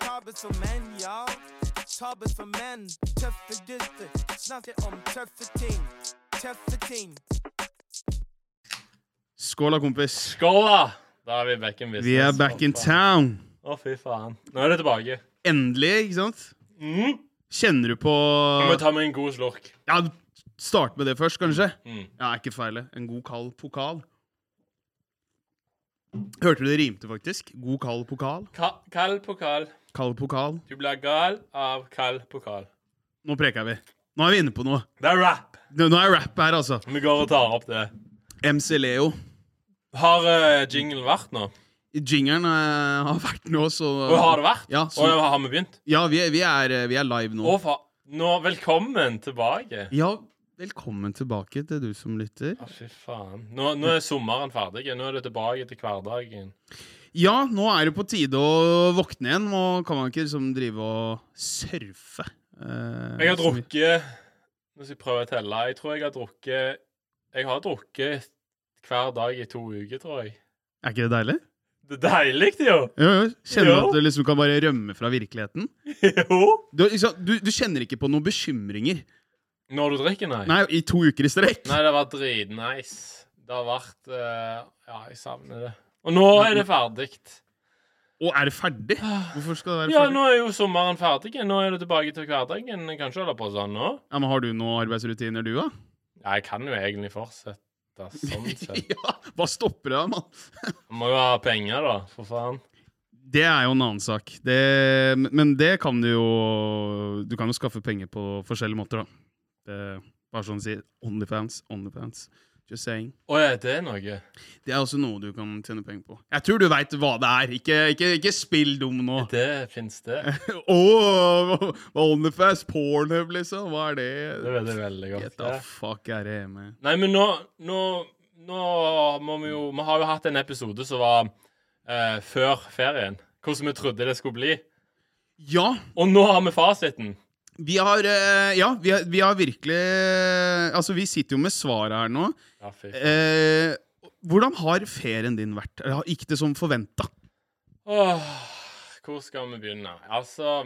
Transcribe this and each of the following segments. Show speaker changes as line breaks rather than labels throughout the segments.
gentlemen, y'all. Tabber for menn, tøffe gutter. Snakker om tøffe ting, tøffe ting.
Skål da, kompis.
Skål, da! Da er vi back in business.
Vi er back in
Å, faen.
town.
Å, fy faen. Nå er det tilbake.
Endelig, ikke sant?
Mm.
Kjenner du på
Jeg må ta meg en god slurk.
Ja, start med det først, kanskje?
Mm.
Ja, er ikke feil. det. En god kald pokal. Hørte du det rimte, faktisk? God kald pokal.
Ka kald pokal.
Kald pokal.
Du blir gal av kald pokal.
Nå preker vi. Nå er vi inne på noe.
Det er rap.
Nå nå er rap her, altså.
Vi går og tar opp det.
MC Leo.
Har uh, jinglen vært nå?
Jingeren eh, har vært nå, så
Og har det vært?
Ja,
Og
så,
har vi begynt?
ja vi, er, vi, er, eh, vi er live nå.
Å, faen. Nå, velkommen tilbake.
Ja, velkommen tilbake til du som lytter.
Å, fy faen. Nå, nå er sommeren ferdig. Nå er det tilbake til hverdagen.
Ja, nå er det på tide å våkne igjen. Nå kan man ikke liksom drive og surfe. eh,
Jeg har
så mye.
drukket Nå skal jeg prøve å telle. Jeg tror jeg har drukket Jeg har drukket hver dag i to uker, tror jeg.
Er ikke det deilig?
Det er deilig, det jo!
Jo, jo. Kjenner du
Jo.
at du liksom kan bare rømme fra virkeligheten?
jo!
Du, liksom, du, du kjenner ikke på noen bekymringer.
Når du drikker, nei.
Nei, i to uker i strekk.
Nei, det har vært dritnice. Det har vært eh, Ja, jeg savner det. Og nå er det ferdig.
Og er det ferdig? Hvorfor skal det være
Ja,
ferdig?
nå er jo sommeren ferdig. Nå er det tilbake til hverdagen. Jeg kan ikke holde på sånn nå.
Ja, men Har du noen arbeidsrutiner, du, da?
Ja, jeg kan jo egentlig fortsette sånn sett.
Ja, Hva stopper det da, mann?
Må jo ha penger, da, for faen.
Det er jo en annen sak. Det, men det kan du jo Du kan jo skaffe penger på forskjellige måter, da. Det, bare sånn å si Onlyfans, Onlyfans. Just saying.
Å ja, det er noe.
Det er også noe du kan tjene penger på. Jeg tror du veit hva det er. Ikke, ikke, ikke spill dum nå.
Det fins, det.
Åh, Onlyfans, Pornhub, liksom. Hva er det?
Det vet jeg veldig
Get
godt.
the
det.
fuck er det med
Nei, men nå, nå, nå må vi jo Vi har jo hatt en episode som var eh, før ferien. Hvordan vi trodde det skulle bli.
Ja,
Og nå har vi fasiten.
vi har, eh, ja, vi har, vi har virkelig Altså, vi sitter jo med svaret her nå.
Ja, fy.
Eh, hvordan har ferien din vært? Eller har- Gikk det som forventa?
Åh, hvor skal vi begynne? Altså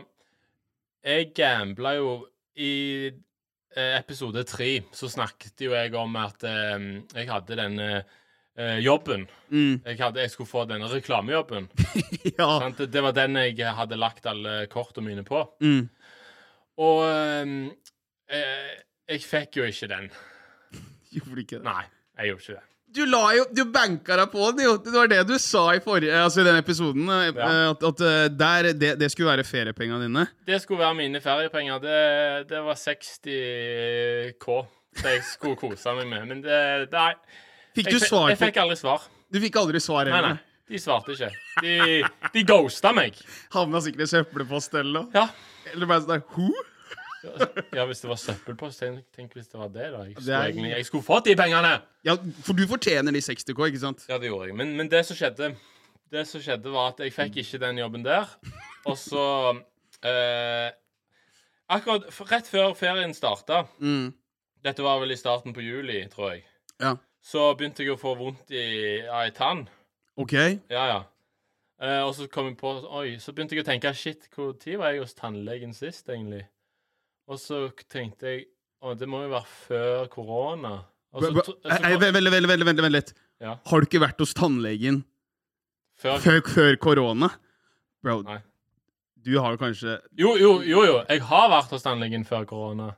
Jeg gambla jo I eh, episode tre så snakket jo jeg om at eh, jeg hadde denne eh, jobben.
Mm.
Jeg, hadde, jeg skulle få denne reklamejobben.
Ja.
Sant? Det- Det var den jeg hadde lagt alle kortene mine på.
Mm.
Og ehm, eh, jeg fikk jo ikke den.
Gjorde du ikke det?
Nei, jeg gjorde ikke det.
Du la jo, du banka deg på det, jo. Det var det du sa i forrige, altså i den episoden. eh,
Ja.
At, at eh, der, det, det skulle være feriepengene dine.
Det skulle være mine feriepenger. Det, det var 60 K. Det jeg skulle kose meg med. Men det Nei.
Fikk
Jeg,
du
fe-
svar
jeg
på
fikk aldri svar.
Du fikk aldri svar
Nei, nei.
heller.
De svarte ikke. De, de ghosta meg.
Havna sikkert i søppelpost eller noe.
Ja.
Eller bare sånn der, Who?
ja, hvis det var søppelpost, tenk, tenk hvis det var det, da. Jeg
Det
skulle,
er-
egentlig, jeg skulle fått de pengene!
Ja, for du fortjener de 60K, ikke sant?
Ja, det gjorde jeg. Men, men det som skjedde, det som skjedde var at jeg fikk ikke den jobben der. Og så eh, Akkurat f- rett før ferien starta,
Mm.
dette var vel i starten på juli, tror jeg,
Ja.
så begynte jeg å få vondt i, ja, i tann.
OK.
Ja, ja. Eh, og så kom jeg på Oi, så begynte jeg å tenke Shit, når var jeg hos tannlegen sist, egentlig? Og så k- tenkte jeg Å, det må jo være før korona. Og så
Bra- bra-
tro- så-
Nei, Vent vent, vent, vent, vent, vent litt.
Ja.
Har du ikke vært hos tannlegen
før,
før, før korona? Bro,
Nei.
du har jo kanskje
jo, jo, jo, jo. Jeg har vært hos tannlegen før korona.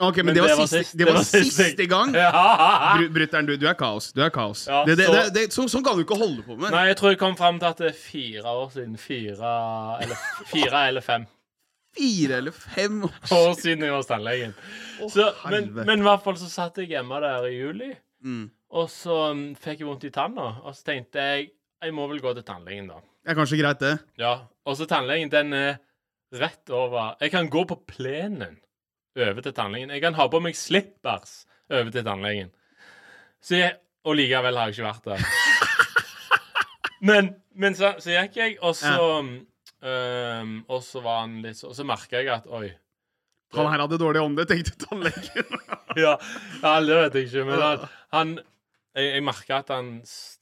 OK, men, det, var siste, det var
sist.
siste gang.
Ja.
Bru- Brutter'n, du, du er kaos. Du er kaos.
Ja,
det, det,
så-
det, det, så, sånn kan du ikke holde på med.
Nei, jeg tror jeg kom fram til at det er fire år siden. Fire eller, fire eller fem
Fire eller fem år.
år siden jeg var hos tannlegen. Så, men,
helvete.
men i hvert fall så satt jeg hjemme der i juli,
Mm.
og så mm, fikk jeg vondt i tanna. Og så tenkte jeg jeg må vel gå til tannlegen, da.
Det er kanskje greit, det.
Ja, Og så tannlegen, den er rett over Jeg kan gå på plenen over til tannlegen. Jeg kan ha på meg slippers over til tannlegen. Så jeg, og likevel har jeg ikke vært der. Men, men så, så gikk jeg, og så øhm, Og så var han litt så Og så merka jeg at Oi.
Han her hadde dårlig ånde, tenkte tannlegen.
Ja, ja det vet jeg ikke, men han, han Jeg, jeg merka at han s-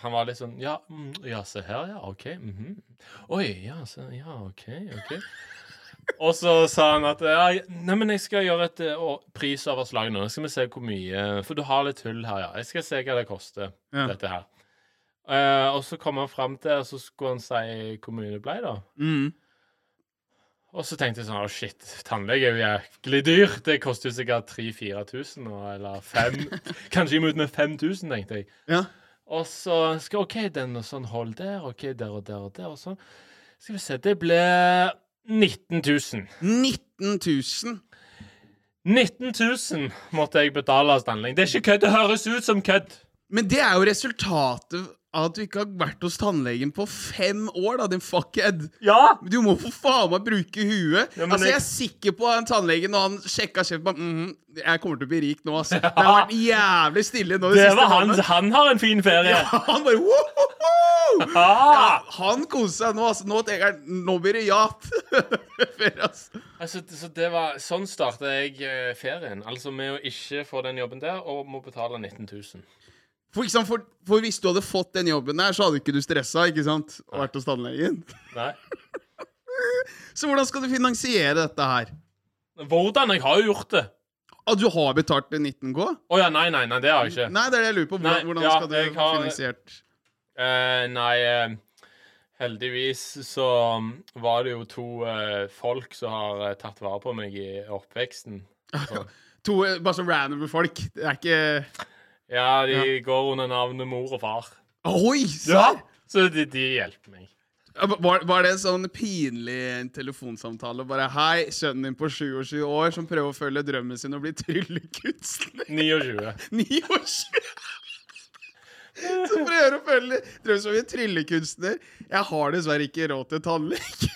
han var litt sånn Ja, mm, ja se her, ja. OK. mhm. Oi, ja, se, ja, OK. ok Og så sa han at ja, jeg- Nei, men jeg skal gjøre et eh, å- prisoverslag nå. Nå skal vi se hvor mye For du har litt hull her, ja. Jeg skal se hva det koster,
Ja.
dette her. Eh, og så kom han fram til Og så skulle han si hvor mye det ble, da.
Mm.
Og så tenkte jeg sånn, å shit, tannlege er jo jæklig dyr. Det koster jo sikkert 3000-4000, eller 5 Kanskje imot med 5000, tenkte jeg.
Ja.
Og så skal OK, den og sånn hold der, OK, der og der og der, og sånn. Skal vi se, det ble 19 000.
19 000!
19 000 måtte jeg betale av Stanling. Det er ikke kødd, det høres ut som kødd.
Men det er jo resultatet av at du ikke har vært hos tannlegen på fem år, da, din fuckhead.
Ja!
Du må for faen meg bruke huet.
Ja, men
altså, jeg
jeg-
er sikker på han tannlegen når han sjekka kjeften på mm, Jeg kommer til å bli rik nå, ass. Det har vært jævlig stille nå i
Det
siste
var han.
måned.
Han har en fin ferie.
Ja, han bare «Wohoho!»
Ah!
Han koser seg nå, ass. Nå tenker han Nå blir det jat. Før, ass.
Altså, så det var, sånn starta jeg eh, ferien. Altså med å ikke få den jobben der og må betale 19 000.
For, ikke sant, for, for hvis du hadde fått den jobben der, så hadde ikke du stressa ikke sant? og vært hos tannlegen.
Nei.
Så hvordan skal du finansiere dette her?
Hvordan? Jeg har jo gjort det.
At du har betalt 19K?
Å ja, nei, nei, nei, det har jeg ikke.
Nei, det er det jeg lurer på. Hvordan,
Nei,
hvordan
ja,
skal du
jeg har-
finansiert
Eh, nei, eh, heldigvis så um, var det jo to eh, folk som har eh, tatt vare på meg i oppveksten. Så,
To eh, bare sånn random folk. Det er ikke
ja, de går under navnet mor og far.
Oi! serr?
Så de, de hjelper meg.
Var, var det en sånn pinlig telefonsamtale? Bare 'Hei, sønnen din på 27 år som prøver å følge drømmen sin og bli tryllekunstner'.
29.
29! Som prøver å følge drømmen som en tryllekunstner. Jeg har dessverre ikke råd til tannlege.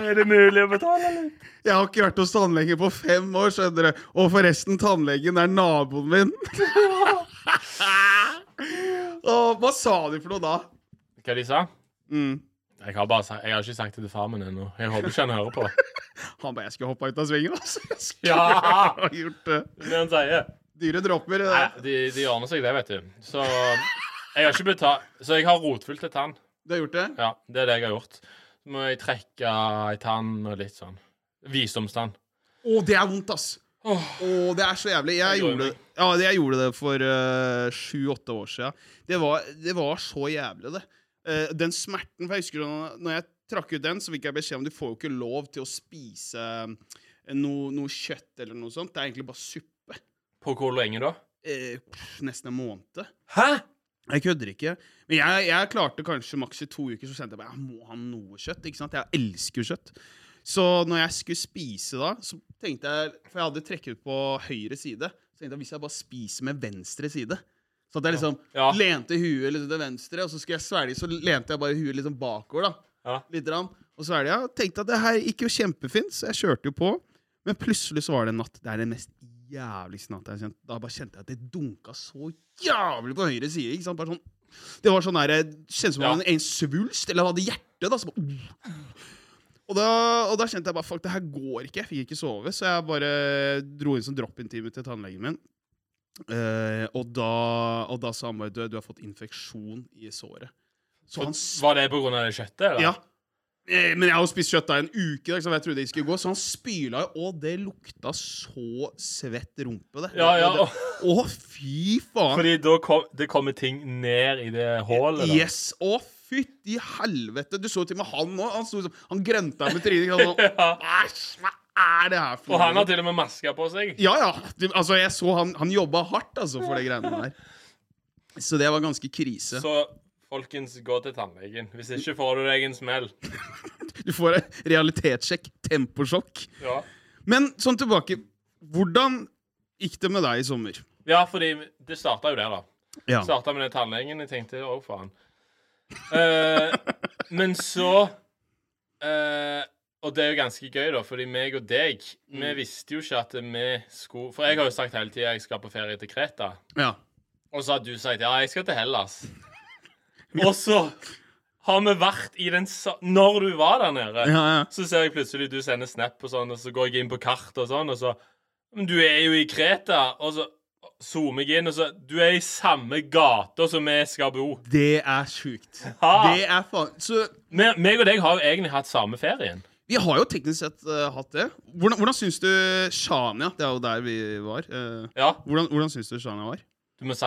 Er det mulig å betale, eller?
Jeg har ikke vært hos tannlegen på fem år, skjønner du. Og forresten, tannlegen er naboen min. Og hva sa de for noe da?
Hva de sa?
Mm.
Jeg har, bare sagt, jeg har ikke sagt det til far min ennå. Jeg håper ikke han hører på.
Han bare 'Jeg skulle hoppa ut av svingen', altså. Jeg skulle
Ja!
ha gjort det.
Det er Det han sier.
Dyre dråper. eh, det
Nei,
der.
de, de ordner seg, det, vet du. Så jeg har ikke betalt Så jeg har rotfylt en tann.
Du har gjort det?
Ja, det er det jeg har gjort. Så må jeg trekke en tann og litt sånn. Visdomstann.
Å, det er vondt, ass.
Åh.
Å, det er så jævlig. Jeg
Det gjør
gjorde,
meg.
ja, det- jeg gjorde det for eh, sju-åtte år siden. Det var, det var så jævlig, det. Eh, den smerten For jeg husker da når jeg trakk ut den, så fikk jeg beskjed om du får jo ikke lov til å spise eh, noe, noe kjøtt eller noe sånt. Det er egentlig bare suppe.
På hvor lenge da?
Eh, pff, nesten en måned.
Hæ?
Jeg kødder ikke. Men jeg, jeg klarte kanskje maks i to uker, så kjente jeg bare, jeg må ha noe kjøtt. ikke sant? Jeg elsker kjøtt. Så når jeg skulle spise da, så tenkte jeg For jeg hadde trekket på høyre side. Så tenkte jeg hvis jeg bare spiser med venstre side Så at jeg liksom
Ja.
lente huet liksom til venstre, og så skulle jeg svelge, så lente jeg bare huet liksom bakover. da.
Ja.
Litt rann, og svelga. Tenkte at det her gikk jo kjempefint, så jeg kjørte jo på. Men plutselig så var det en natt. Det er den mest jævligste natta jeg har kjent. Da bare kjente jeg at det dunka så jævlig på høyre side. ikke sant? Bare sånn, det var sånn der, kjentes som
Ja.
om det var en svulst, eller hadde hjerte. da, så bare... Og da, og da kjente jeg bare fuck, det her går ikke. Jeg fikk ikke sove, så jeg bare dro inn som drop-in-time til tannlegen min. Eh, og, da, og da sa han bare du, du har fått infeksjon i såret. Så han
Var det på grunn av det kjøttet? eller?
ja. Eh, Men jeg har jo spist kjøtt da i en uke, da, ikke sant, for jeg trodde det ikke skulle gå. Så han spyla jo, og det lukta så svett rumpe, det.
Ja, ja,
Det- Å, fy faen.
Fordi da kom, det kommer ting ned i det hullet? da.
Yes. Å, fytti helvete. Du så jo til og med han òg. Han, sto sånn- han grønta med trynet. ikke sant, sånn,
Ja.
Æsj, hva er det her for
Og han
noe?»
har til og med maske på seg.
Ja, ja. Du, altså, jeg så han, han jobba hardt altså, for de greiene der. Så det var ganske krise.
Så folkens, gå til tannlegen. Hvis ikke får du deg en smell.
Du får en realitetssjekk. Temposjokk.
Ja.
Men sånn tilbake. Hvordan gikk det med deg i sommer?
Ja, fordi det starta jo der, da.
Ja.
Starta med den tannlegen. Jeg tenkte å, faen. Eh, men så eh, Og det er jo ganske gøy, da, fordi meg og deg, vi
Mm.
visste jo ikke at vi skulle For jeg har jo sagt hele tida jeg skal på ferie til Kreta.
ja.
Og så har du sagt ja, jeg skal til Hellas. Og så har vi vært i den sa... Når du var der nede,
ja, ja.
så ser jeg plutselig du sender snap og sånn, og så går jeg inn på kartet og sånn, og så Men du er jo i Kreta, og så zoomer jeg inn, og så Du er i samme gata som vi skal bo.
Det er sjukt.
Ha!
Det er faen Så
Me- Meg og deg har jo egentlig hatt samme ferien.
vi har jo teknisk sett eh, hatt det. Hvordan, hvordan syns du Shania Det er jo der vi var. eh,
Ja,
hvordan hvordan syns du Shania var?
du må si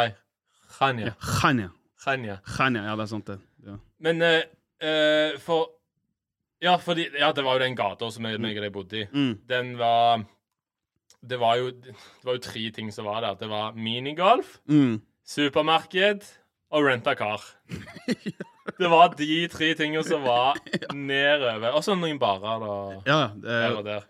Khanya.
Shania.
Khanya.
Shania, ja, det er sant, det. Ja.
Men eh, eh, for Ja, fordi Ja, det var jo den gata som jeg, meg og deg bodde i.
Mm.
Den var det var, jo, det var jo tre ting som var der. Det var minigolf,
Mm.
supermarked og rent a car. Det var de tre tingene som var nedover. Og så noen barer da,
Ja, det,
her og der.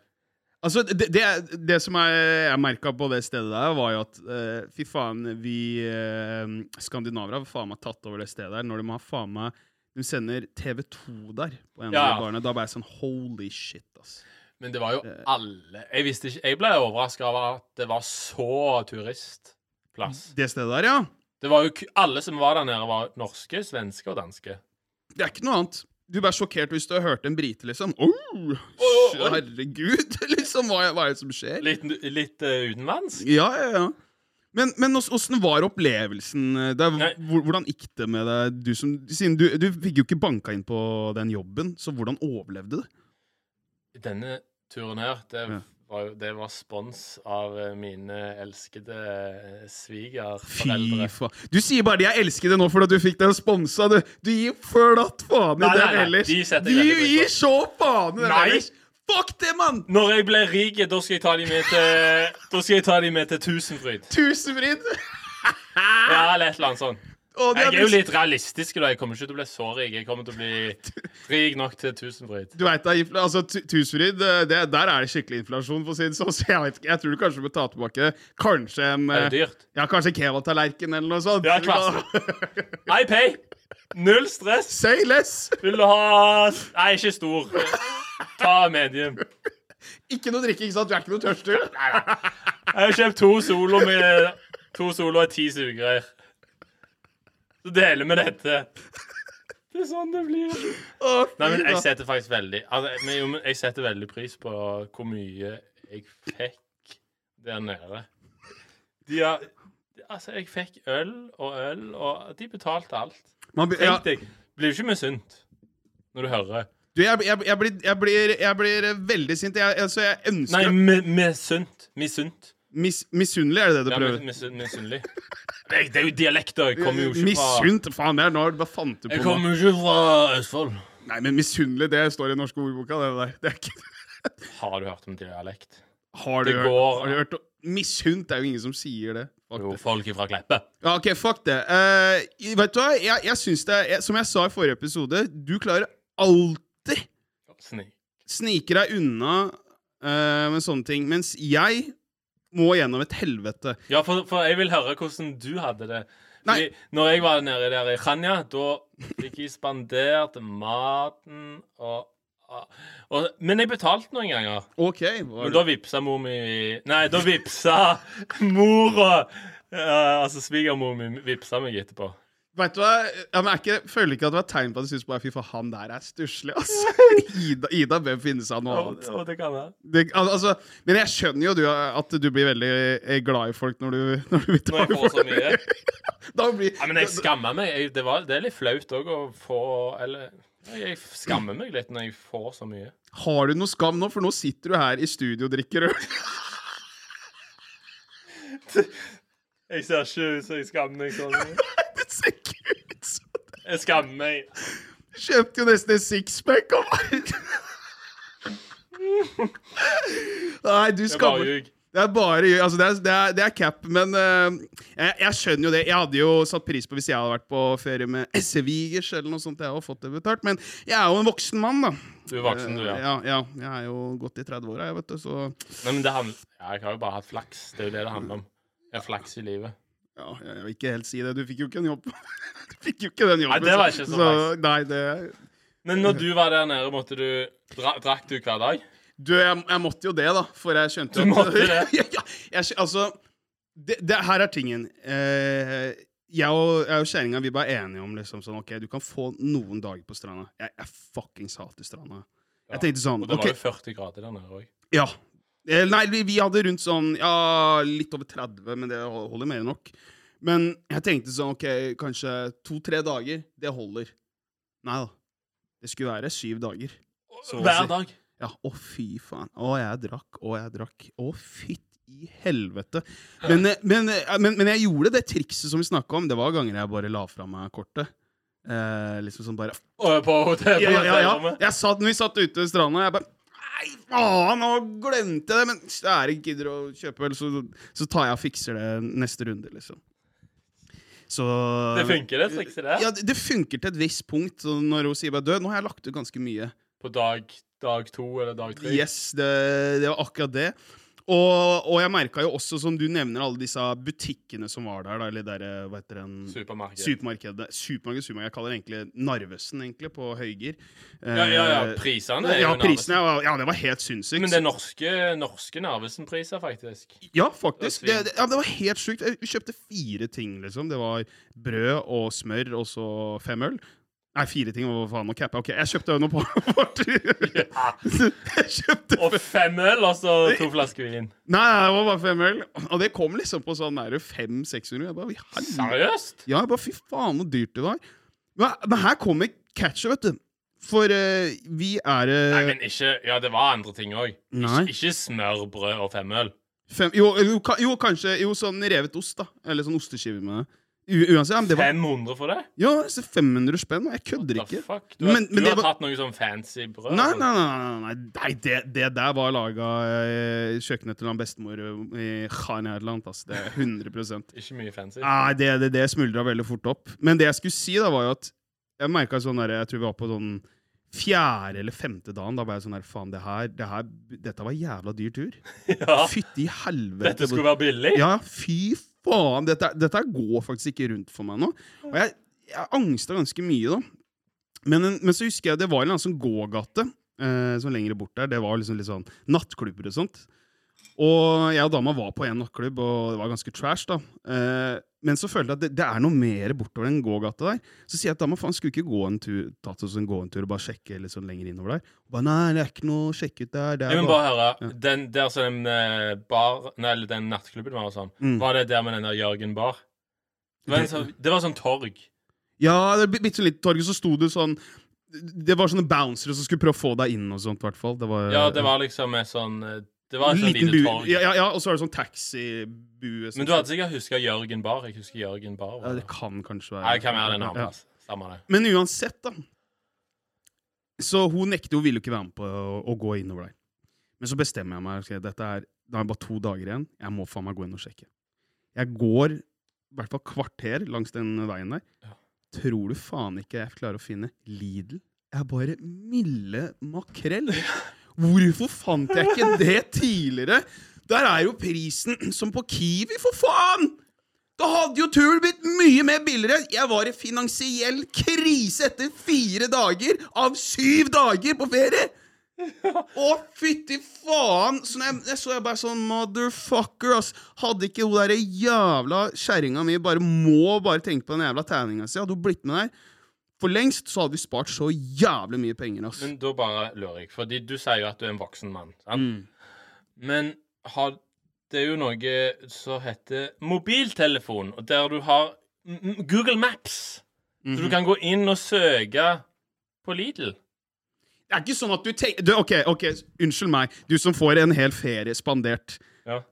altså, det, det, er- det som jeg, jeg merka på det stedet der, var jo at eh, fy faen, vi eh, skandinaver har faen meg tatt over det stedet der. Når de har faen meg De sender TV2 der på en av
Ja.
de barene. Da ble jeg sånn holy shit, ass.
Men det var jo alle Jeg visste ikke, jeg ble overraska over at det var så turistplass.
Det stedet der, ja.
Det var jo ku- Alle som var der nede, var norske, svenske og danske.
Det er ikke noe annet. Du ble sjokkert hvis du har hørt en brite, liksom. Oh,
oi, oi.
herregud, liksom. Hva, er- hva er det som skjer?
Litt, litt eh, utenlands.
Ja, ja, ja. Men, men ås- åssen var opplevelsen? eh, Der,
Nei.
hvor- hvordan gikk det med deg? Du, som, siden du, du fikk jo ikke banka inn på den jobben, så hvordan overlevde du?
Denne turen her, det
Ja.
var jo det var spons av eh, mine elskede eh,
Fy
svigerforeldre.
faen. Du sier bare 'jeg elsker det' nå fordi du fikk den sponsa. Du, du gir flatt faen i
Nei,
den
nei, nei,
ellers.
de setter jeg
du
veldig pris på.
gir så faen i den
Nei.
ellers. Fuck det, mann!
Når jeg blir rik, da skal jeg ta de med til Da skal jeg ta de med til Tusenfryd.
Tusenfryd!
Ja, eller et eller annet sånt.
Å, det
Jeg er jo
best-
litt realistisk, da. Jeg kommer ikke til å bli så rik. Jeg kommer til å bli rik nok til Tusenfryd.
Du vet, da, infla- altså, Tu- Tusenfryd, eh, det- der er det skikkelig inflasjon, for å si det sånn. Så jeg, vet ikke, jeg tror du kanskje må ta tilbake kanskje en
Det er
eh,
jo dyrt.
Ja, kanskje kebabtallerken eller noe sånt.
Ja, klart. I pay! Null stress.
Say less!
Vil du ha Nei, ikke stor. Ta medium.
Ikke noe drikke, ikke sant? Du er ikke noe tørst, du?
Jeg har kjøpt to solo med To solo og ti sugegreier. Så deler vi dette. Det er sånn det blir.
Å,
Nei, men jeg
fy da.
setter faktisk veldig altså, jeg- men, jo, men Jeg setter veldig pris på hvor mye jeg fikk der nede. De har Altså, jeg fikk øl og øl, og de betalte alt.
Man, blir- ja,
Tenk deg. Blir jo ikke misunt når du hører.
du, jeg, jeg, jeg, blir, jeg, blir, jeg blir eh, veldig sint. Jeg, jeg, så jeg
Nei,
ønsker
mi- misunt. Misunt.
mis, Misunnelig, er det det du
Ja, mis-
prøver?
misun- misunnelig. Jeg- Det er jo dialekter. Jeg kommer jo ikke fra
Misunt? Faen, det er når du bare fant du på
Jeg
noe.
kommer jo ikke fra Østfold.
Nei, men misunnelig, det står i den norske ordboka, det der. Det er ikke...
Har du hørt om dialekt?
Har du
Det
hørt?
går-
Har du hørt? Misunt er jo ingen som sier det. Fuck
Jo,
det.
folk fra Kleppe.
Ja, OK, fuck det. Eh, vet du hva? Jeg, jeg syns det er, jeg, Som jeg sa i forrige episode, du klarer alltid
Snik.
sniker deg unna eh, med sånne ting, mens jeg må gjennom et helvete.
Ja, for, for jeg vil høre hvordan du hadde det. Fordi
Nei.
når jeg var nede der i Khanya, da fikk jeg spandert maten og, og Men jeg betalte noen ganger.
OK. hva er
Men
det?
da vippsa mor mi Nei, da vippsa mora eh, Altså svigermor mi vippsa meg etterpå.
Vet du hva? Ja, men er ikke, føler ikke at det var tegn på at du syns bare fy faen, han der er stusslig, altså. Ida, Ida bør finne seg noe
Og,
annet.
og det kan være.
Det, al- altså, men jeg skjønner jo du, at du blir veldig eh, glad i folk når du, når du
Når
betaler
jeg får
for
så mye.
Da blir,
Ja, men jeg skammer meg. Jeg, det, var, det er litt flaut òg å få Eller jeg skammer meg litt når jeg får så mye.
Har du noe skam nå? For nå sitter du her i studio og drikker øl.
Jeg ser ikke ut som jeg skammer meg sånn.
Det ser ikke ut som det.
Jeg skammer meg.
Kjøpte jo nesten en sixpack og bare Nei, du
Jeg bare
skammer
ljug.
Det er bare altså det, er, det, er, det er cap, men eh, jeg, jeg skjønner jo det. Jeg hadde jo satt pris på hvis jeg hadde vært på ferie med svigers eller noe sånt. Jeg hadde fått det betalt, men jeg er jo en voksen mann, da.
Du er voksen, du,
Eh,
ja.
ja, ja. Jeg er jo godt i 30-åra, jeg, vet du, så
Nei, men det handler ja, Jeg har jo bare hatt flaks. Det er jo det det handler om. Jeg har flaks i livet.
Ja, jeg vil ikke helt si det. Du fikk jo ikke en jobb. Du fikk jo ikke den jobben.
det var ikke så nice.
Nei, det
Men når du var der nede, måtte du dra, Drakk du hver dag?
Du, jeg, jeg måtte jo det, da, for jeg skjønte
Du måtte det?
ja, ja, jeg, skj- altså det, det, Her er tingen. Eh, jeg og, jeg og kjerringa vi var enige om liksom sånn OK, du kan få noen dager på stranda. Jeg, jeg fuckings hater stranda.
Ja,
Jeg tenkte sånn
Og det
OK,
var jo 40 grader der nede òg.
ja. Eh, Nei, vi, vi hadde rundt sånn Ja, litt over 30, men det hol- holder mer enn nok. Men jeg tenkte sånn Ok, kanskje to-tre dager. Det holder. Nei da. Det skulle være syv dager. Så å si.
Hver dag.
Ja, å fy faen. Å, jeg drakk, å, jeg drakk. Å, fytt i helvete. Men, eh, men, eh, men, men jeg gjorde det trikset som vi snakka om. Det var ganger jeg bare la fra meg kortet. Eh, liksom sånn bare
Og på hotell.
ja, ja, ja, ja.
hotellrommet.
Jeg satt, når vi satt ute ved stranda, jeg bare Nei, faen, nå glemte jeg det! Men kjære gidder å kjøpe øl, så, så tar jeg og fikser det neste runde, liksom. Så
Det funker, det trikset der.
Ja, det, det funker til et visst punkt. Så når hun sier bare død, nå har jeg lagt ut ganske mye.
På dag, dag to eller dag tre.
Yes, det, det var akkurat det. Og, og jeg merka jo også, som du nevner, alle disse butikkene som var der, da, eller der, eh, hva heter den
Supermarked.
Supermarkedet. Supermarked, supermarked. Jeg kaller det egentlig Narvesen, egentlig, på Eh, Høyger.
ja, ja, ja. Prisene er
Ja,
jo
prisene
Narvesen.
var, ja, det var helt sinnssykt.
Men det er norske, norske Narvesen-priser, faktisk.
Ja, faktisk.
Det er
Det, det, ja, det var helt sjukt. Jeg- Vi kjøpte fire ting, liksom. Det var brød og smør og så fem øl. Nei, fire ting. Hva faen? Nå capper jeg. Ok, jeg kjøpte noe på Jeg kjøpte
Og fem øl, og så to flasker vin.
Nei, det var bare fem øl. Og det kom liksom på sånn nære 500-600. Jeg bare, vi helvete.
Seriøst?
Ja, jeg bare fy faen hvor dyrt det var. Men, men her kommer catchet, vet du. For eh, vi er eh,
Nei, men ikke Ja, det var andre ting òg. Ikke,
Nei.
ikke smør, brød og femøl.
fem, jo, jo, ka- jo, kanskje Jo, sånn revet ost, da. Eller sånn osteskive med det. U uansett, ja, men det var
500 for det?
jo, så 500 spenn, og jeg kødder
What the
ikke.
fuck? Du, har-
Men- men
du
det
har
var-
tatt noe sånn fancy brød?
Nei,
og
nei, nei, nei, nei, nei det, det der var laga i kjøkkenet til han bestemor eh, i Khan Erland. ass. Det er 100
sånt. Ikke mye fancy.
Nei, det, det, det smuldra veldig fort opp. Men det jeg skulle si, da, var jo at jeg merka sånn der, Jeg tror vi var på sånn fjerde eller femte dagen. Da var jeg sånn her Faen, det her, det her Dette var en jævla dyr tur.
Ja,
Fytti helvete.
dette skulle være billig?
Ja, fy faen. Dette, dette går faktisk ikke rundt for meg nå. Og jeg, jeg angsta ganske mye, da. Men, men så husker jeg det var en eller annen sånn gågate eh, sånn lenger bort der. Det var liksom litt sånn nattklubber og sånt. Og jeg og dama var på en nattklubb, og det var ganske trash, da. Eh, men så følte jeg at det, det er noe mer bortover den gågata der. Så sier jeg at dama faen, skulle ikke gå en tur, tatt oss en gåentur og bare sjekke litt sånn lenger innover der? Og bare, nei, det er ikke noe å sjekke ut der. Det
Jeg
er
vil
bare...
bare høre. Den der som den eh, bar Nei, eller den nattklubben var og sånn,
Mm.
var det der med den der Jørgen Bar? Det var, en sånn, det var sånn torg.
Ja, det er bitte litt torget, så sto det sånn Det var sånne bouncere som skulle prøve å få deg inn og sånt, i hvert fall. Det var,
Ja, det var liksom et sånn eh, Det var et sånn
liten
lite
bu-
torg.
Ja, ja, ja, og så var det sånn taxibue. som-
Men du hadde sikkert huska Jørgen Bar. Jeg husker Jørgen Bar.
ja,
var
Det
der.
kan kanskje være
Nei, det kan være det
Ja.
navnet. Ja. Samme det.
Men uansett, da. Så hun nekter, hun ville jo ikke være med på å, å gå innover der. Men så bestemmer jeg meg. ok, dette er, Det er bare to dager igjen. Jeg må faen meg gå inn og sjekke. Jeg går i hvert fall kvarter langs den veien der.
Ja.
Tror du faen ikke jeg klarer å finne Lidl? Jeg er bare milde makrell. Hvorfor fant jeg ikke det tidligere? Der er jo prisen som på Kiwi, for faen! Da hadde jo turen blitt mye mer billigere. Jeg var i finansiell krise etter fire dager av syv dager på ferie! Å, fytti faen! Så når jeg, jeg så jeg bare sånn Motherfucker, ass. Hadde ikke hun derre jævla kjerringa mi bare må bare tenke på den jævla tegninga si, hadde hun blitt med der for lengst, så hadde vi spart så jævlig mye penger, ass.
Men da bare lurer jeg, fordi du sier jo at du er en voksen mann. Sant?
Mm.
Men har, det er jo noe som heter mobiltelefon, og der du har m- m- Google Maps. Så
Mhm.
du kan gå inn og søke på Lidl.
Det er ikke sånn at du tenker du, Ok, ok, unnskyld meg. Du som får en hel ferie spandert.
Ja.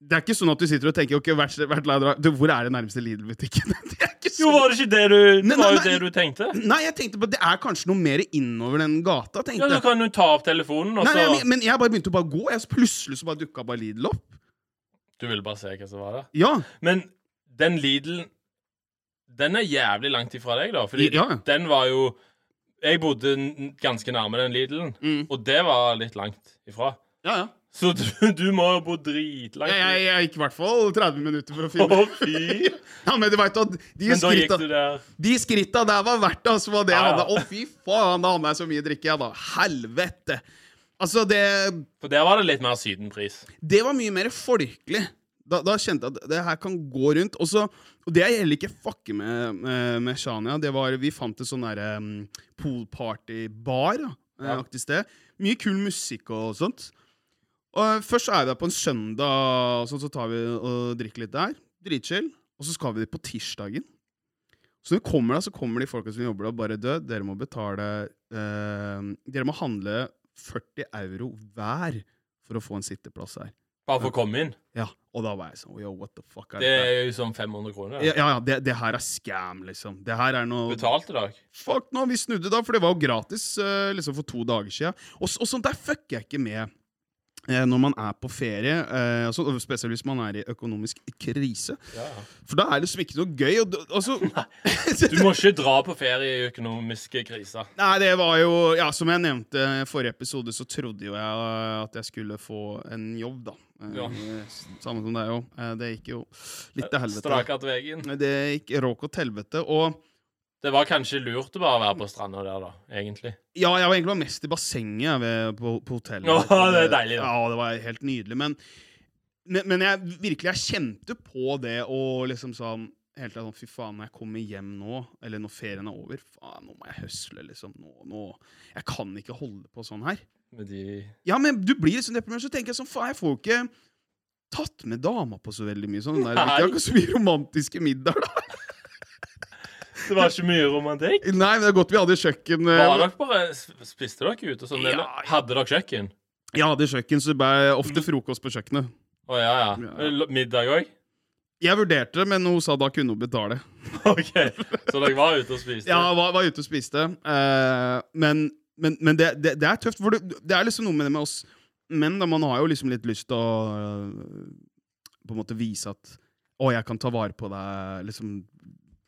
Det er ikke sånn at du sitter og tenker Ok, hvert, hvert land, du, Hvor er det nærmeste Lidl-butikken? Det er ikke
Jo,
sånn.
var det ikke det du,
Nei,
det var jo
nei, nei.
det du tenkte?
Nei, jeg tenkte på at det er kanskje noe mer innover den gata.
Ja,
tenkte
så
jeg
kan du ta opp telefonen, og
Nei, nei,
så
men- Men jeg bare begynte å bare gå. Jeg, så plutselig så bare dukka bare Lidl opp.
Du ville bare se hva som var der.
Ja,
Men den Lidlen Den er jævlig langt ifra deg, da. Fordi
Ja, ja.
den var jo Jeg bodde n- ganske nærme den Lidlen,
Mm.
og det var litt langt ifra.
ja, ja.
Så du, du må jo bo dritlangt.
Jeg, jeg, jeg gikk i hvert fall 30 minutter for å
Å,
finne
fy!
Ja, Men du vet at de
Men da gikk
skritta,
du der.
de skritta der var verdt det, altså, var det jeg
Ja, ja.
hadde. Å, fy faen, da hadde jeg så mye drikke, jeg, da. Helvete. Altså, det
For der var det litt mer sydenpris.
Det var mye mer folkelig. Da, da kjente jeg at det her kan gå rundt. Og, så, og det jeg heller ikke fucker med med- med Shania, det var Vi fant et sånn derre um, poolparty-bar. da, eh,
Ja.
aktig sted. Mye kul musikk og sånt. Og først er vi der på en søndag, så, så tar vi og drikker litt der. Dritchill. Og så skal vi dit på tirsdagen. Så når vi kommer da, så kommer de folka som jobber der, og bare død. Dere må betale eh, Dere må handle 40 euro hver for å få en sitteplass her.
Bare for å komme inn.
Ja, Og da var jeg sånn Yo, what the fuck er
Det
dette?
er jo sånn 500 kroner.
Ja, ja, ja det, det her er scam, liksom. Det her er noe
Betalte dere?
Fuck nå, vi snudde da, for det var jo gratis eh, liksom for to dager siden. Og, s- og sånt der fucker jeg ikke med eh, når man er på ferie, eh, altså, og spesielt hvis man er i økonomisk krise.
Ja.
For da er det liksom ikke noe gøy. Og, d- altså,
Du må ikke dra på ferie i økonomiske kriser.
Nei, det var jo Ja, som jeg nevnte i forrige episode, så trodde jo jeg eh, at jeg skulle få en jobb, da. Eh,
Ja.
Samme som deg òg. Det gikk jo litt til helvete.
Strakat veien.
Det gikk råk og til helvete. Og
Det var kanskje lurt å bare være på stranda der, da, egentlig.
Ja, jeg var egentlig var mest i bassenget jeg, ved, på, på hotellet.
Åh, det er deilig, da.
Ja, det var helt nydelig. Men, men, men jeg virkelig jeg kjente på det og liksom sånn Helt sånn, Fy faen, når jeg kommer hjem nå, eller når ferien er over faen, Nå må jeg høsle, liksom. Nå, nå. Jeg kan ikke holde på sånn her.
Med de
Ja, men du blir liksom deprimert, så tenker jeg sånn Faen, jeg får jo ikke tatt med dama på så veldig mye. Sånn, der. Det er ikke så mye romantiske middager, da.
Det var ikke mye romantikk.
Nei, men det er godt vi hadde kjøkken. eh,
Var dere bare Spiste dere ute? og Sånn, eller
Ja.
hadde dere kjøkken?
Jeg hadde kjøkken, så det ble ofte frokost på kjøkkenet.
Å ja, ja.
Ja.
L- Middag òg?
Jeg vurderte det, men hun sa da kunne hun betale.
OK. Så dere var ute og spiste?
Ja, var, var ute og spiste. eh, men men, men det, det, det er tøft, for det, det er liksom noe med det med oss menn. da, Man har jo liksom litt lyst til å eh, på en måte vise at Å, jeg kan ta vare på deg, liksom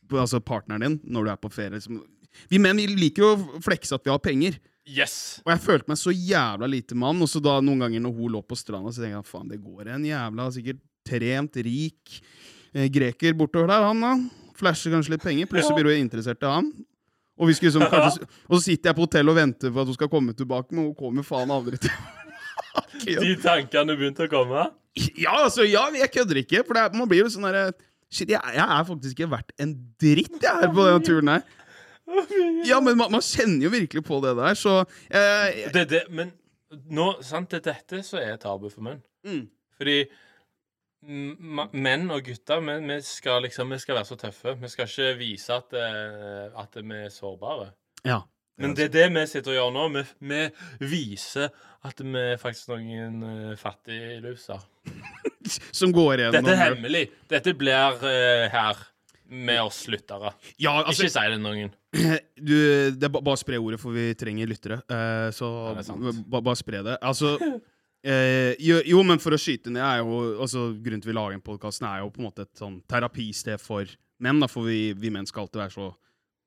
på- Altså partneren din, når du er på ferie. Liksom. Vi menn vi liker jo å flekse at vi har penger.
Yes!
Og jeg følte meg så jævla lite mann. Og så da noen ganger når hun lå på stranda, så tenkte jeg faen, det går en jævla sikkert trent, rik eh, greker bortover der, han da. Flasher kanskje litt penger. Plutselig blir hun interessert i han. Og, vi skulle liksom kanskje, og så sitter jeg på hotellet og venter for at hun skal komme tilbake, men hun kommer faen aldri tilbake.
De tankene begynte å komme.
Ja, altså, ja, jeg kødder ikke, for det er, man blir jo sånn derre Shit, jeg, jeg er faktisk ikke verdt en dritt, jeg, her på den turen her. Ja, men man, man kjenner jo virkelig på det der, så eh,
Det, det, men nå, sant, det er dette som er tabu for menn.
mm.
Fordi m- ma- menn og gutter, men vi skal liksom Vi skal være så tøffe. Vi skal ikke vise at, eh, at vi er sårbare.
Ja.
Men det er det vi sitter og gjør nå. Vi, vi viser at vi er faktisk noen eh, fattigluser.
som går igjen.
Dette er hemmelig. Dette blir eh, her med oss lyttere.
Ja, altså,
Ikke si det til noen.
du, det er ba- bare spre ordet, for vi trenger lyttere. Eh, så
Ja, det er sant.
ba, bare spre det. Altså eh, jo, jo, men for å skyte ned er jo, altså, Grunnen til vi lager den podkasten, er jo på en måte et sånn terapisted for menn. Da, for vi, vi menn skal alltid være så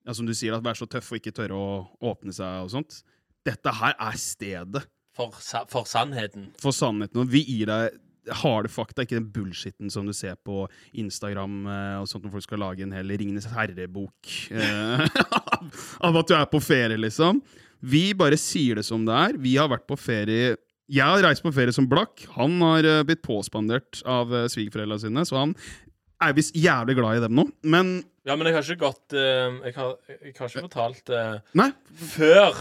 ja, som du sier, da, være så tøffe og ikke tørre å åpne seg og sånt. Dette her er stedet
For, sa- for sannheten.
for sannheten. Og vi gir deg harde fakta, ikke den bullshitten som du ser på Instagram eh, og sånt når folk skal lage en hel Ringenes herre-bok eh, av at du er på ferie, liksom. Vi bare sier det som det er. Vi har vært på ferie Jeg har reist på ferie som blakk. Han har eh, blitt påspandert av uh, svigerforeldra sine, så han er visst jævlig glad i dem nå. Men
Ja, men jeg har ikke gått eh, jeg, har, jeg har ikke fortalt eh,
nei.
Før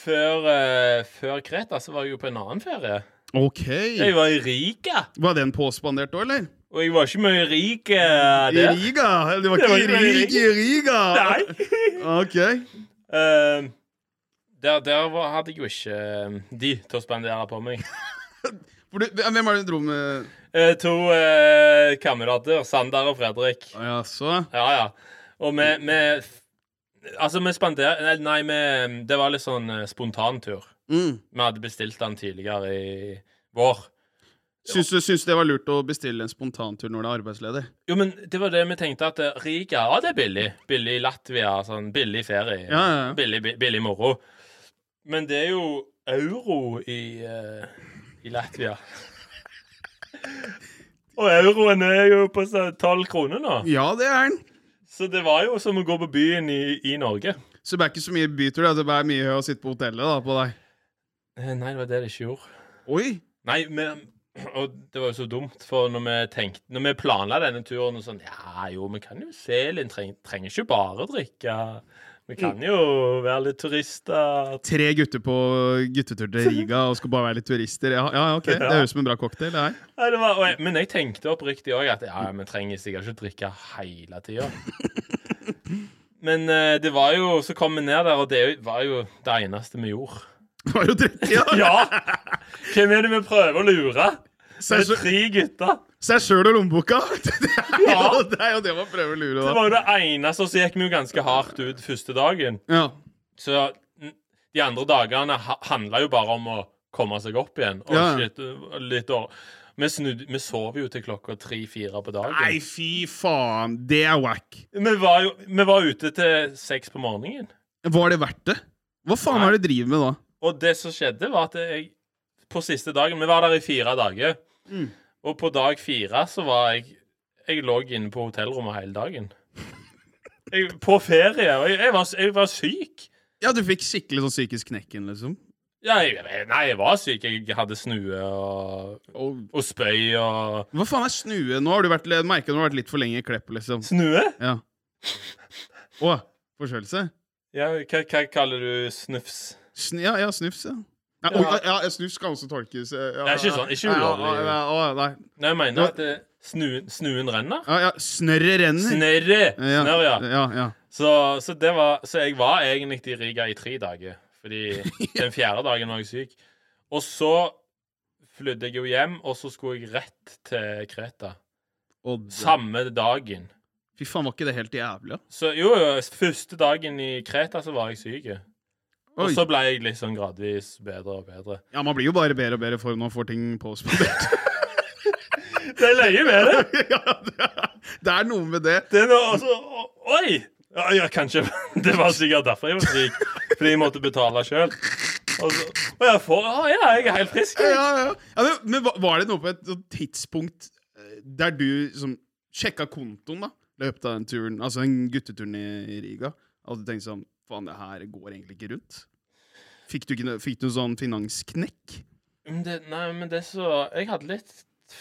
før, eh, før Kreta så var jeg jo på en annen ferie.
OK.
Jeg var i Riga.
Var den påspandert òg, eller?
Og jeg var ikke mye rik eh,
I
der.
Riga? Det var
Det var
ikke i
ikke i
Riga, i Riga!
Nei.
OK.
Eh, der der var, hadde jeg jo ikke eh, de til å spandere på meg.
For du, hvem var det du dro med?
Eh, to eh, kamerater, Sander og Fredrik.
Å, Ja, så.
Ja, ja. Og vi, vi Altså, vi spanderte Nei, nei vi, det var litt sånn eh, spontantur.
Mm.
Vi hadde bestilt den tidligere i vår.
Syns du syns det var lurt å bestille en spontantur når du er arbeidsledig?
Jo, men det var det vi tenkte at eh, Riga, ja, det er billig. Billig Latvia, sånn billig ferie.
Ja, ja, ja.
Billig, bi- billig moro. Men det er jo euro i, eh, i Latvia. Og euroen er jo på tolv kroner nå.
Ja, det er den.
Så det var jo som å gå på byen i, i Norge.
Så det er ikke så mye bytur, da. det er mye å sitte på hotellet da, på deg.
Eh, Nei, det var det det ikke gjorde.
Oi!
Nei, men og det var jo så dumt, for når vi tenkte, når vi planla denne turen og sånn Ja, jo, vi kan jo se litt, treng, trenger ikke bare drikke. Vi kan jo være litt turister.
Tre gutter på guttetur til Riga og skal bare være litt turister. Ja, ja ok, Det høres ut som en bra cocktail. det her.
Nei, det var, og jeg, men jeg tenkte oppriktig òg at ja, ja, vi trenger sikkert ikke å drikke hele tida. Men eh, det var jo Så kom vi ned der, og det var jo det eneste vi gjorde.
Det var jo dritt, ja.
Ja! Hvem er det vi prøver å lure? Det
Seg
er tre gutter.
seg sjøl og lommeboka! Det er,
Ja.
jo, det er jo det man prøver å lure,
Det
da.
var jo det eneste, og så gikk vi jo ganske hardt ut første dagen.
Ja.
Så n- de andre dagene ha- handla jo bare om å komme seg opp igjen. Og
Ja.
shit, eh, litt år. Vi, snudde, vi sov jo til klokka tre-fire på dagen.
Nei, fy faen. Det er wack.
Vi var jo vi var ute til seks på morgenen.
Var det verdt det? Hva faen
Nei.
er det du driver med da?
Og det som skjedde, var at jeg på siste dagen Vi var der i fire dager.
Mm.
Og på dag fire så var jeg Jeg lå inne på hotellrommet hele dagen. Jeg, på ferie. Og jeg, jeg, var, jeg var syk.
Ja, du fikk skikkelig sånn psykisk knekken, liksom.
Ja, jeg, nei, jeg var syk. Jeg hadde snue og,
Og,
og spøy og
hva faen er snue? Nå har du vært, jeg merker du har vært litt for lenge i Klepp, liksom.
Snue?
Ja. Å, forkjølelse?
Ja, hva, hva kaller du snufs?
Sn ja, ja, snufs, ja. Nei,
Ja.
oi, ja, ja. Snufs kan også tolkes eh, ja,
Det er ikke sånn- ikke ulovlig.
Ja, ja, ja, ja, nei.
Nei, jeg
Nå-
mener at eh, snuen, snuen renner.
ja, ja, snørret renner.
Snørre!
ja.
Snørr, ja.
ja, ja.
Så, så, det var, så jeg var egentlig i Riga i tre dager, fordi den fjerde dagen var jeg syk. Og så flydde jeg jo hjem, og så skulle jeg rett til Kreta.
Og det-
Samme dagen.
Fy faen, var ikke det helt jævlig? da?
Så jo, jo, første dagen i Kreta så var jeg syk. Og
Oi.
så ble jeg liksom gradvis bedre og bedre.
Ja, man blir jo bare bedre og bedre for når man får ting påspandert.
Det er løye med det!
ja, det, er- det er noe med det.
Det er noe, altså, o- oi! Ja, ja, kanskje Det var sikkert derfor jeg var syk. Fordi jeg måtte betale sjøl. Og så, å, jeg får, å, ja, jeg er helt frisk. jeg.
Ja, ja. ja men, men hva- var det noe på et sånt tidspunkt eh, der du som sjekka kontoen da, i løpet av den turen, altså den gutteturen i i Riga, at du tenkte sånn Faen, det her går egentlig ikke rundt. Fikk du, ikke, noe- fikk du sånn finansknekk?
Men det, nei, men det så Jeg hadde litt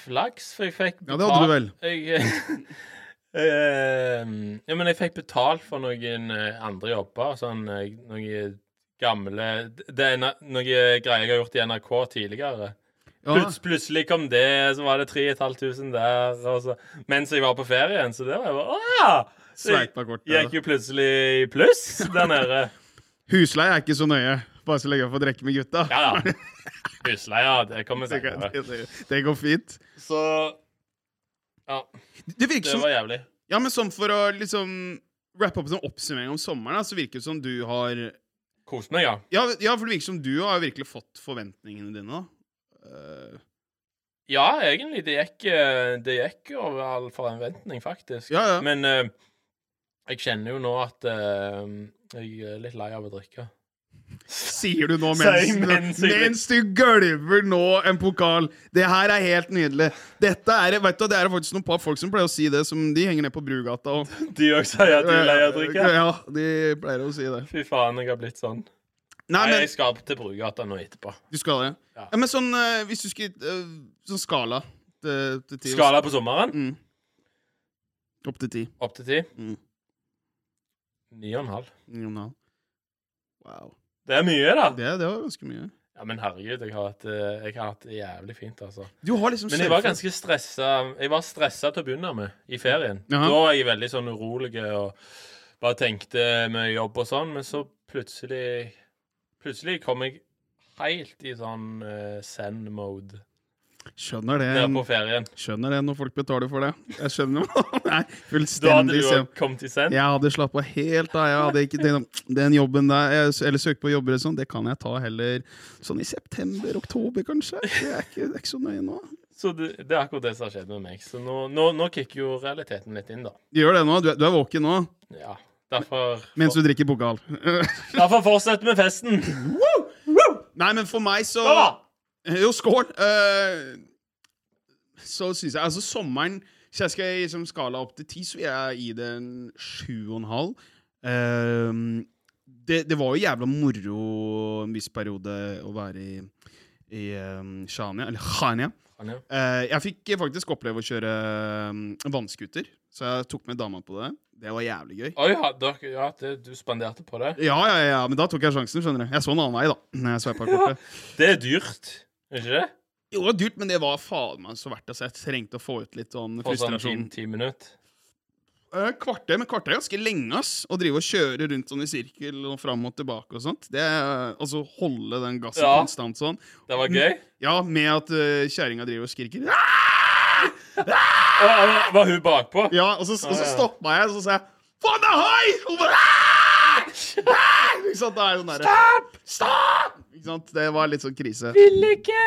flaks, for jeg fikk
Ja, det hadde du vel.
Jeg, eh, ja, men jeg fikk betalt for noen eh, andre jobber. Sånn eh, noen gamle Det er na- noen greier jeg har gjort i NRK tidligere.
Ja,
Pluts, plutselig kom det, så var det 3500 der. Og så, mens jeg var på ferien, så det var jeg bare Å ja! Så jeg
Sveipa kort.
gikk jo plutselig i pluss der nede.
Husleie er ikke så nøye, bare så lenge jeg får drikke med gutta.
Ja ja. Husleia, det kommer
Det, kan-
senere.
det, det går fint.
Så Ja.
Det virker
Det
som
var jævlig.
Ja, men sånn for å liksom rappe opp en oppsummering om sommeren, da, så virker det som du har
Koste meg, ja.
ja, ja, for det virker som du har virkelig fått forventningene dine, da. Eh,
Ja, egentlig. Det gikk, eh, det gikk over all forventning, faktisk.
ja, ja.
Men eh, jeg kjenner jo nå at eh, jeg er litt lei av å drikke.
Sier du nå
Sier
mens,
jeg mens jeg-
mens du gølver nå en pokal? Det her er helt nydelig. Dette er, vet du, Det er faktisk noen par folk som pleier å si det, som de henger ned på Brugata og
De òg sier at de er lei av å drikke.
Ja, de pleier å si det.
Fy faen, jeg har blitt sånn.
Nei,
Nei,
men
jeg skal til Brugata nå etterpå.
Du skal det? Ja.
Ja.
men sånn eh, hvis du skulle eh, Sånn skala til, til ti
Skala på sommeren?
Mm. Opp til ti.
Opp til ti?
Mm.
Ni og en halv.
Ni og en halv. Wow.
Det er mye, da.
Det, det var ganske mye.
Ja, Men herregud, jeg har hatt, eh, jeg har hatt det jævlig fint, altså.
Du har liksom
Men jeg var
surfet.
ganske stressa Jeg var stressa til å begynne med i ferien.
Jaha.
Da var jeg veldig sånn urolig og bare tenkte med jobb og sånn, men så plutselig Plutselig kom jeg helt i sånn eh, send-mode
Skjønner det.
der på ferien.
Skjønner det når folk betaler for det. Jeg skjønner Nei,
Da hadde
fullstendig
du
sen.
òg kommet i send.
Jeg hadde slappa helt av. Jeg hadde ikke den, den jobben der jeg, Eller søke på jobber eller sånn, det kan jeg ta heller sånn i september-oktober, kanskje. Det er, ikke, det er ikke så nøye nå.
Så det, det er akkurat det som har skjedd med meg. Så nå, nå, nå kicker jo realiteten litt inn, da.
Du gjør det nå. Du, er- du er våken nå
Ja. Derfor,
mens du drikker pokal.
derfor fortsetter vi festen.
Nei, men for meg så
Ja!
Jo, skål! Eh, så syns jeg Altså, sommeren Hvis jeg skal liksom skala opp til ti, så vil jeg gi det en sju og en halv. Eh, det, det var jo jævla moro en viss periode å være i, i eh, ehm, Shania, eller Khania.
Faen, ja.
Eh, jeg fikk faktisk oppleve å kjøre eh, vannskuter, så jeg tok med dama på det. Det var jævlig gøy.
Oi, ja, dere, ja det, du spanderte på det.
Ja, ja, ja, men da tok jeg sjansen, skjønner du. Jeg så en annen vei, da. Når jeg swipet kortet.
Det er dyrt, er ikke det?
Jo, det var dyrt, men det var faen meg så verdt det. Så jeg trengte å få ut litt sånn
For sånn ti,
frustrasjon.
ti minutter.
Eh, Kvarter, men kvarter er ganske lenge, ass. Å drive og kjøre rundt sånn i sirkel og fram og tilbake og sånt. Det er, altså holde den gassen
Ja.
konstant sånn.
Det var gøy.
Ja, med at uh, kjerringa driver og skriker. «Ah!»
Og, og, var hun bakpå?
Ja, og så, og
Ja,
så
ja.
stoppa jeg, og så sa jeg Faen, det er hai! Og bare «Ah! Ah!» Ikke sant? Da er det sånn derre Stopp! Stopp! Ikke sant? Det var litt sånn krise.
Vil ikke!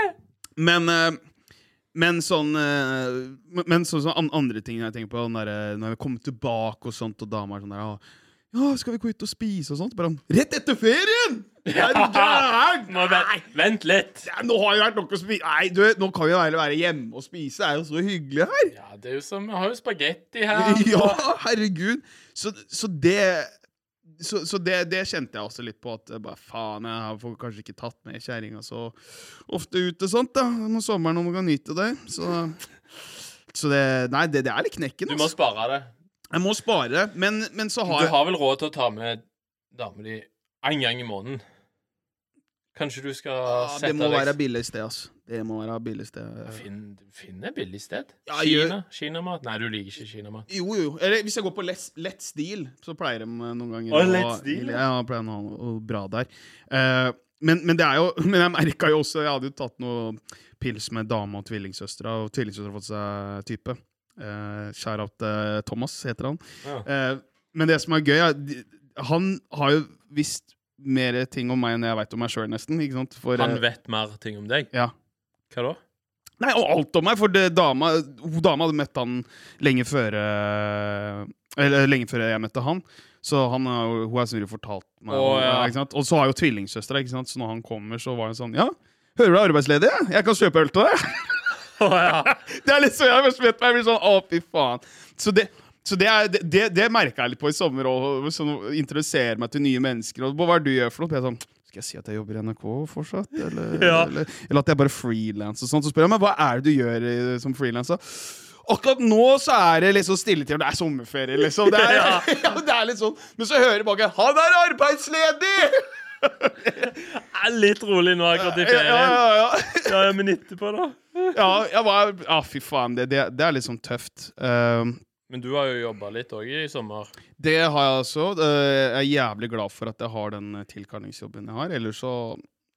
Men, eh, men sånn eh, Men men sånn, sånn an- andre ting jeg tenker på, den derre når jeg kommer tilbake og sånt, og dama er sånn der «Ah, Ja, skal vi gå ut og spise og sånt? Bare sånn, Rett etter ferien! Er du gæren?
Må vent, vent litt.
Ja, Nå har jo vært nok å spise Nei, du, nå kan vi jo heller være hjemme og spise. Det er jo så hyggelig her.
Ja, det er jo som Vi har jo spagetti her.
Ja, herregud. Så, så det så, så det, det kjente jeg også litt på, at eh, bare faen, jeg får kanskje ikke tatt med kjerringa så ofte ut og sånt, da, om sommeren, om hun kan nyte det. Så, så det Nei, det, det er litt knekken.
Du må
Altså.
spare det.
Jeg må spare, men, men så har
Du
jeg
har vel råd til å ta med dama di én gang i måneden? Kanskje du skal
ja,
sette
Ah, Det må
deg
være billig sted, altså. Det må være billig sted. eh,
Finn, finn et billig sted.
Ja,
Kina? Kinamat? Nei, du liker ikke kinamat.
Jo, jo. Eller hvis jeg går på Let's, Let's Deal, så pleier de eh, noen ganger
Å,
ha-
Let's Deal, ja.
Ja, pleier de å ha noe bra der. Eh, men, men det er jo Men jeg merka jo også Jeg hadde jo tatt noe pils med dama og tvillingsøstera, og tvillingsøstera har fått seg type. Uh, Skjær out eh, Thomas, heter han.
Ja.
Eh, men det som er gøy, er de- han har jo visst mer ting om meg enn jeg veit om meg sjøl, nesten. Ikke sant? For,
Han
eh,
vet mer ting om deg.
ja.
Hva da?
Nei, og alt om meg, for det, dama, hun dama hadde møtt han lenge før eh, Eller lenge før jeg møtte han. Så han, har jo- hun har selvfølgelig fortalt meg om
Å,
det,
ja.
ikke sant? Og så har jo tvillingsøstera, ikke sant? så når han kommer, så var hun sånn Ja, hører du er arbeidsledig? Jeg kan kjøpe øl til deg! det er litt sånn jeg først vet meg, jeg blir sånn Å, fy faen. Så det så det, er- det, det, det merka jeg litt på i sommer. Og sånn, Introdusere meg til nye mennesker. Og hva er det du gjør for noe? Jeg er sånn, skal jeg si at jeg jobber i NRK fortsatt? Eller,
Ja.
eller, eller at jeg bare frilanser og sånn. Så spør jeg meg hva er det du gjør i- som frilanser. Akkurat nå så er det liksom stilletid, og det er sommerferie, liksom. Det er, ja. det er litt sånn. Men så hører jeg bak Han er arbeidsledig!
Litt rolig nå akkurat i
Ja, ja, ja, ja.
Ja, ja, men etterpå, da?
ja, jeg var, ja fy faen. Det, det, det er litt sånn tøft. Um,
Men du har jo jobba litt òg i sommer.
Det har jeg også. Eh, Jeg er jævlig glad for at jeg har den eh, tilkallingsjobben jeg har. Ellers så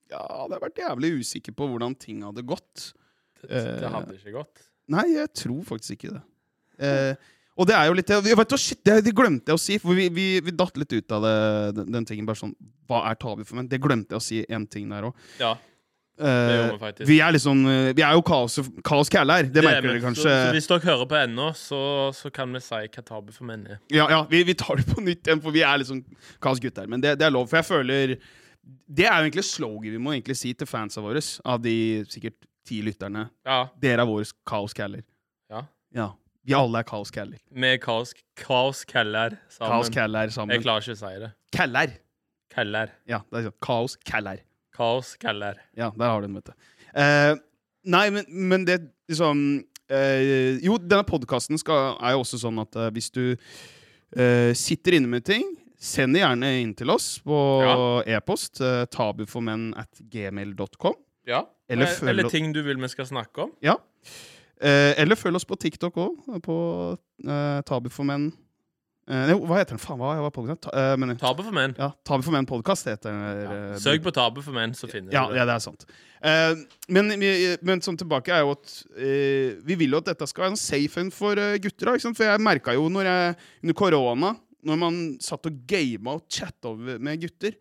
ja, hadde jeg vært jævlig usikker på hvordan ting hadde gått.
Det,
Eh.
det hadde ikke gått.
Nei, jeg tror faktisk ikke det. Eh, og det er jo litt jeg vet, du hva, shit, det, det glemte jeg å si, for vi, vi, vi datt litt ut av det, den, den tingen. Bare sånn, hva er tabu for menn? Det glemte jeg å si en ting der òg.
Ja, det gjorde vi faktisk.
vi er liksom eh, Vi er jo kaos, kaos kæle her. Det,
Det er
merker
vi.
dere kanskje.
Så, så hvis dere hører på ennå, så, så kan vi si hva tabu for menn er.
Ja, ja vi, vi tar det på nytt igjen, for vi er liksom kaos gutter. Men det, det er lov, for jeg føler Det er jo egentlig slogan vi må egentlig si til fansa våre, av de sikkert ti lytterne.
Ja.
Dere er våre kaoscaller.
Ja.
Ja. Vi alle er kaoscaller.
Vi er kaos, kaoskeller sammen.
Kaoscaller sammen.
Jeg klarer ikke å si det.
Caller.
Keller.
Ja, det er sånn. Kaoscaller.
Kaoskeller.
Ja, der har du den, vet du. Eh, nei, men, men det liksom eh, Jo, denne podkasten er jo også sånn at eh, hvis du eh, sitter inne med ting, send det gjerne inn til oss på e-post. Uh, tabuformenn at gmail.com.
Ja.
Eller
Eller,
føler-
eller ting du vil vi skal snakke om.
Ja. Eh, eller følg oss på TikTok òg, på eh, Tabu for menn. Eh, jo, hva heter den? Faen, hva var podkasten? Ta, eh, men-
Tabu for menn.
ja, Tabu for menn podkast heter den. eh,
Søk på tabu for menn, så finner
Ja,
du det.
ja, det er sant. Eh, men, men sånn tilbake er jo at eh, vi vil jo at dette skal være en safe en for eh, gutter. da, Ikke sant? For jeg merka jo når jeg, under korona, når man satt og gama og chatta over med gutter,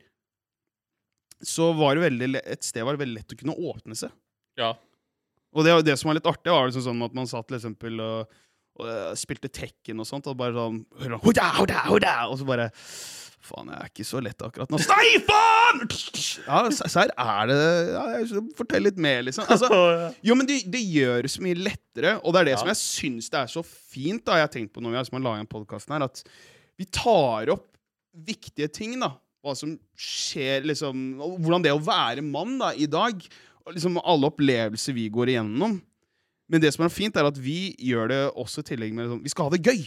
så var det veldig, le- et sted var det veldig lett å kunne åpne seg.
Ja.
Og det, er jo det som var litt artig, var liksom sånn at man satt til eksempel og, og eh, spilte Tekken og sånt, og bare sånn hører man, hoda, hoda, hoda, Og så bare Faen, jeg er ikke så lett akkurat nå. Nei, faen! Ja, se- se her er det ja, jeg- Fortell litt mer, liksom. Altså, jo, men det, det gjør det så mye lettere, og det er det
Ja.
som jeg syns det er så fint, da, jeg har tenkt på når vi har- som har laget igjen podkasten her, at vi tar opp viktige ting, da. Hva som skjer, liksom og Hvordan det er å være mann da, i dag. Og liksom alle opplevelser vi går igjennom. Men det som er fint, er at vi gjør det også i tillegg med sånn Vi skal ha det gøy!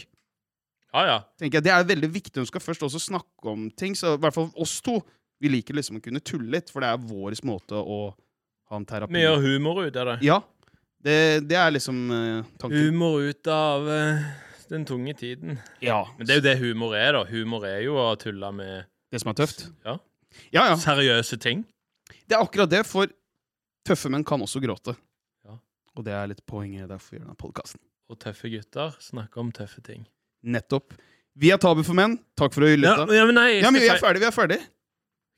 Ja, ja.
tenker jeg, Det er veldig viktig. Hun skal først også snakke om ting. Så i hvert fall oss to. Vi liker liksom å kunne tulle litt, for det er vår måte å ha en terapi
Vi gjør humor ut av det.
Ja. Det, det er liksom eh, tanken.
Humor ut av eh, den tunge tiden.
ja.
Men det er jo det humor er, da. Humor er jo å tulle med
det som er tøft.
Ja.
Ja, ja.
seriøse ting.
Det er akkurat det, for tøffe menn kan også gråte.
Ja.
Og det er litt poenget derfor vi gjør denne podkasten.
Og tøffe gutter snakker om tøffe ting.
Nettopp. Vi er Tabu for menn. Takk for å
Ja,
lytte. Ja,
ja, men nei, jeg
men vi
skal
er
si
ferdig, vi er ferdig.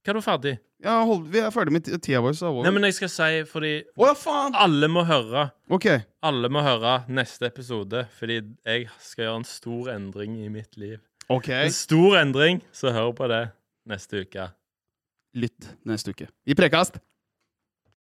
Hva er du ferdig?
Ja, hold, vi er ferdig med ti- tida vår. så er det over.
Nei, men Ah. jeg skal si fordi
Å ja, faen!
alle må høre.
Ok.
Alle må høre neste episode, fordi jeg skal gjøre en stor endring i mitt liv.
Ok.
En stor endring, så hør på det neste uke.
Lytt neste uke. Vi prekast!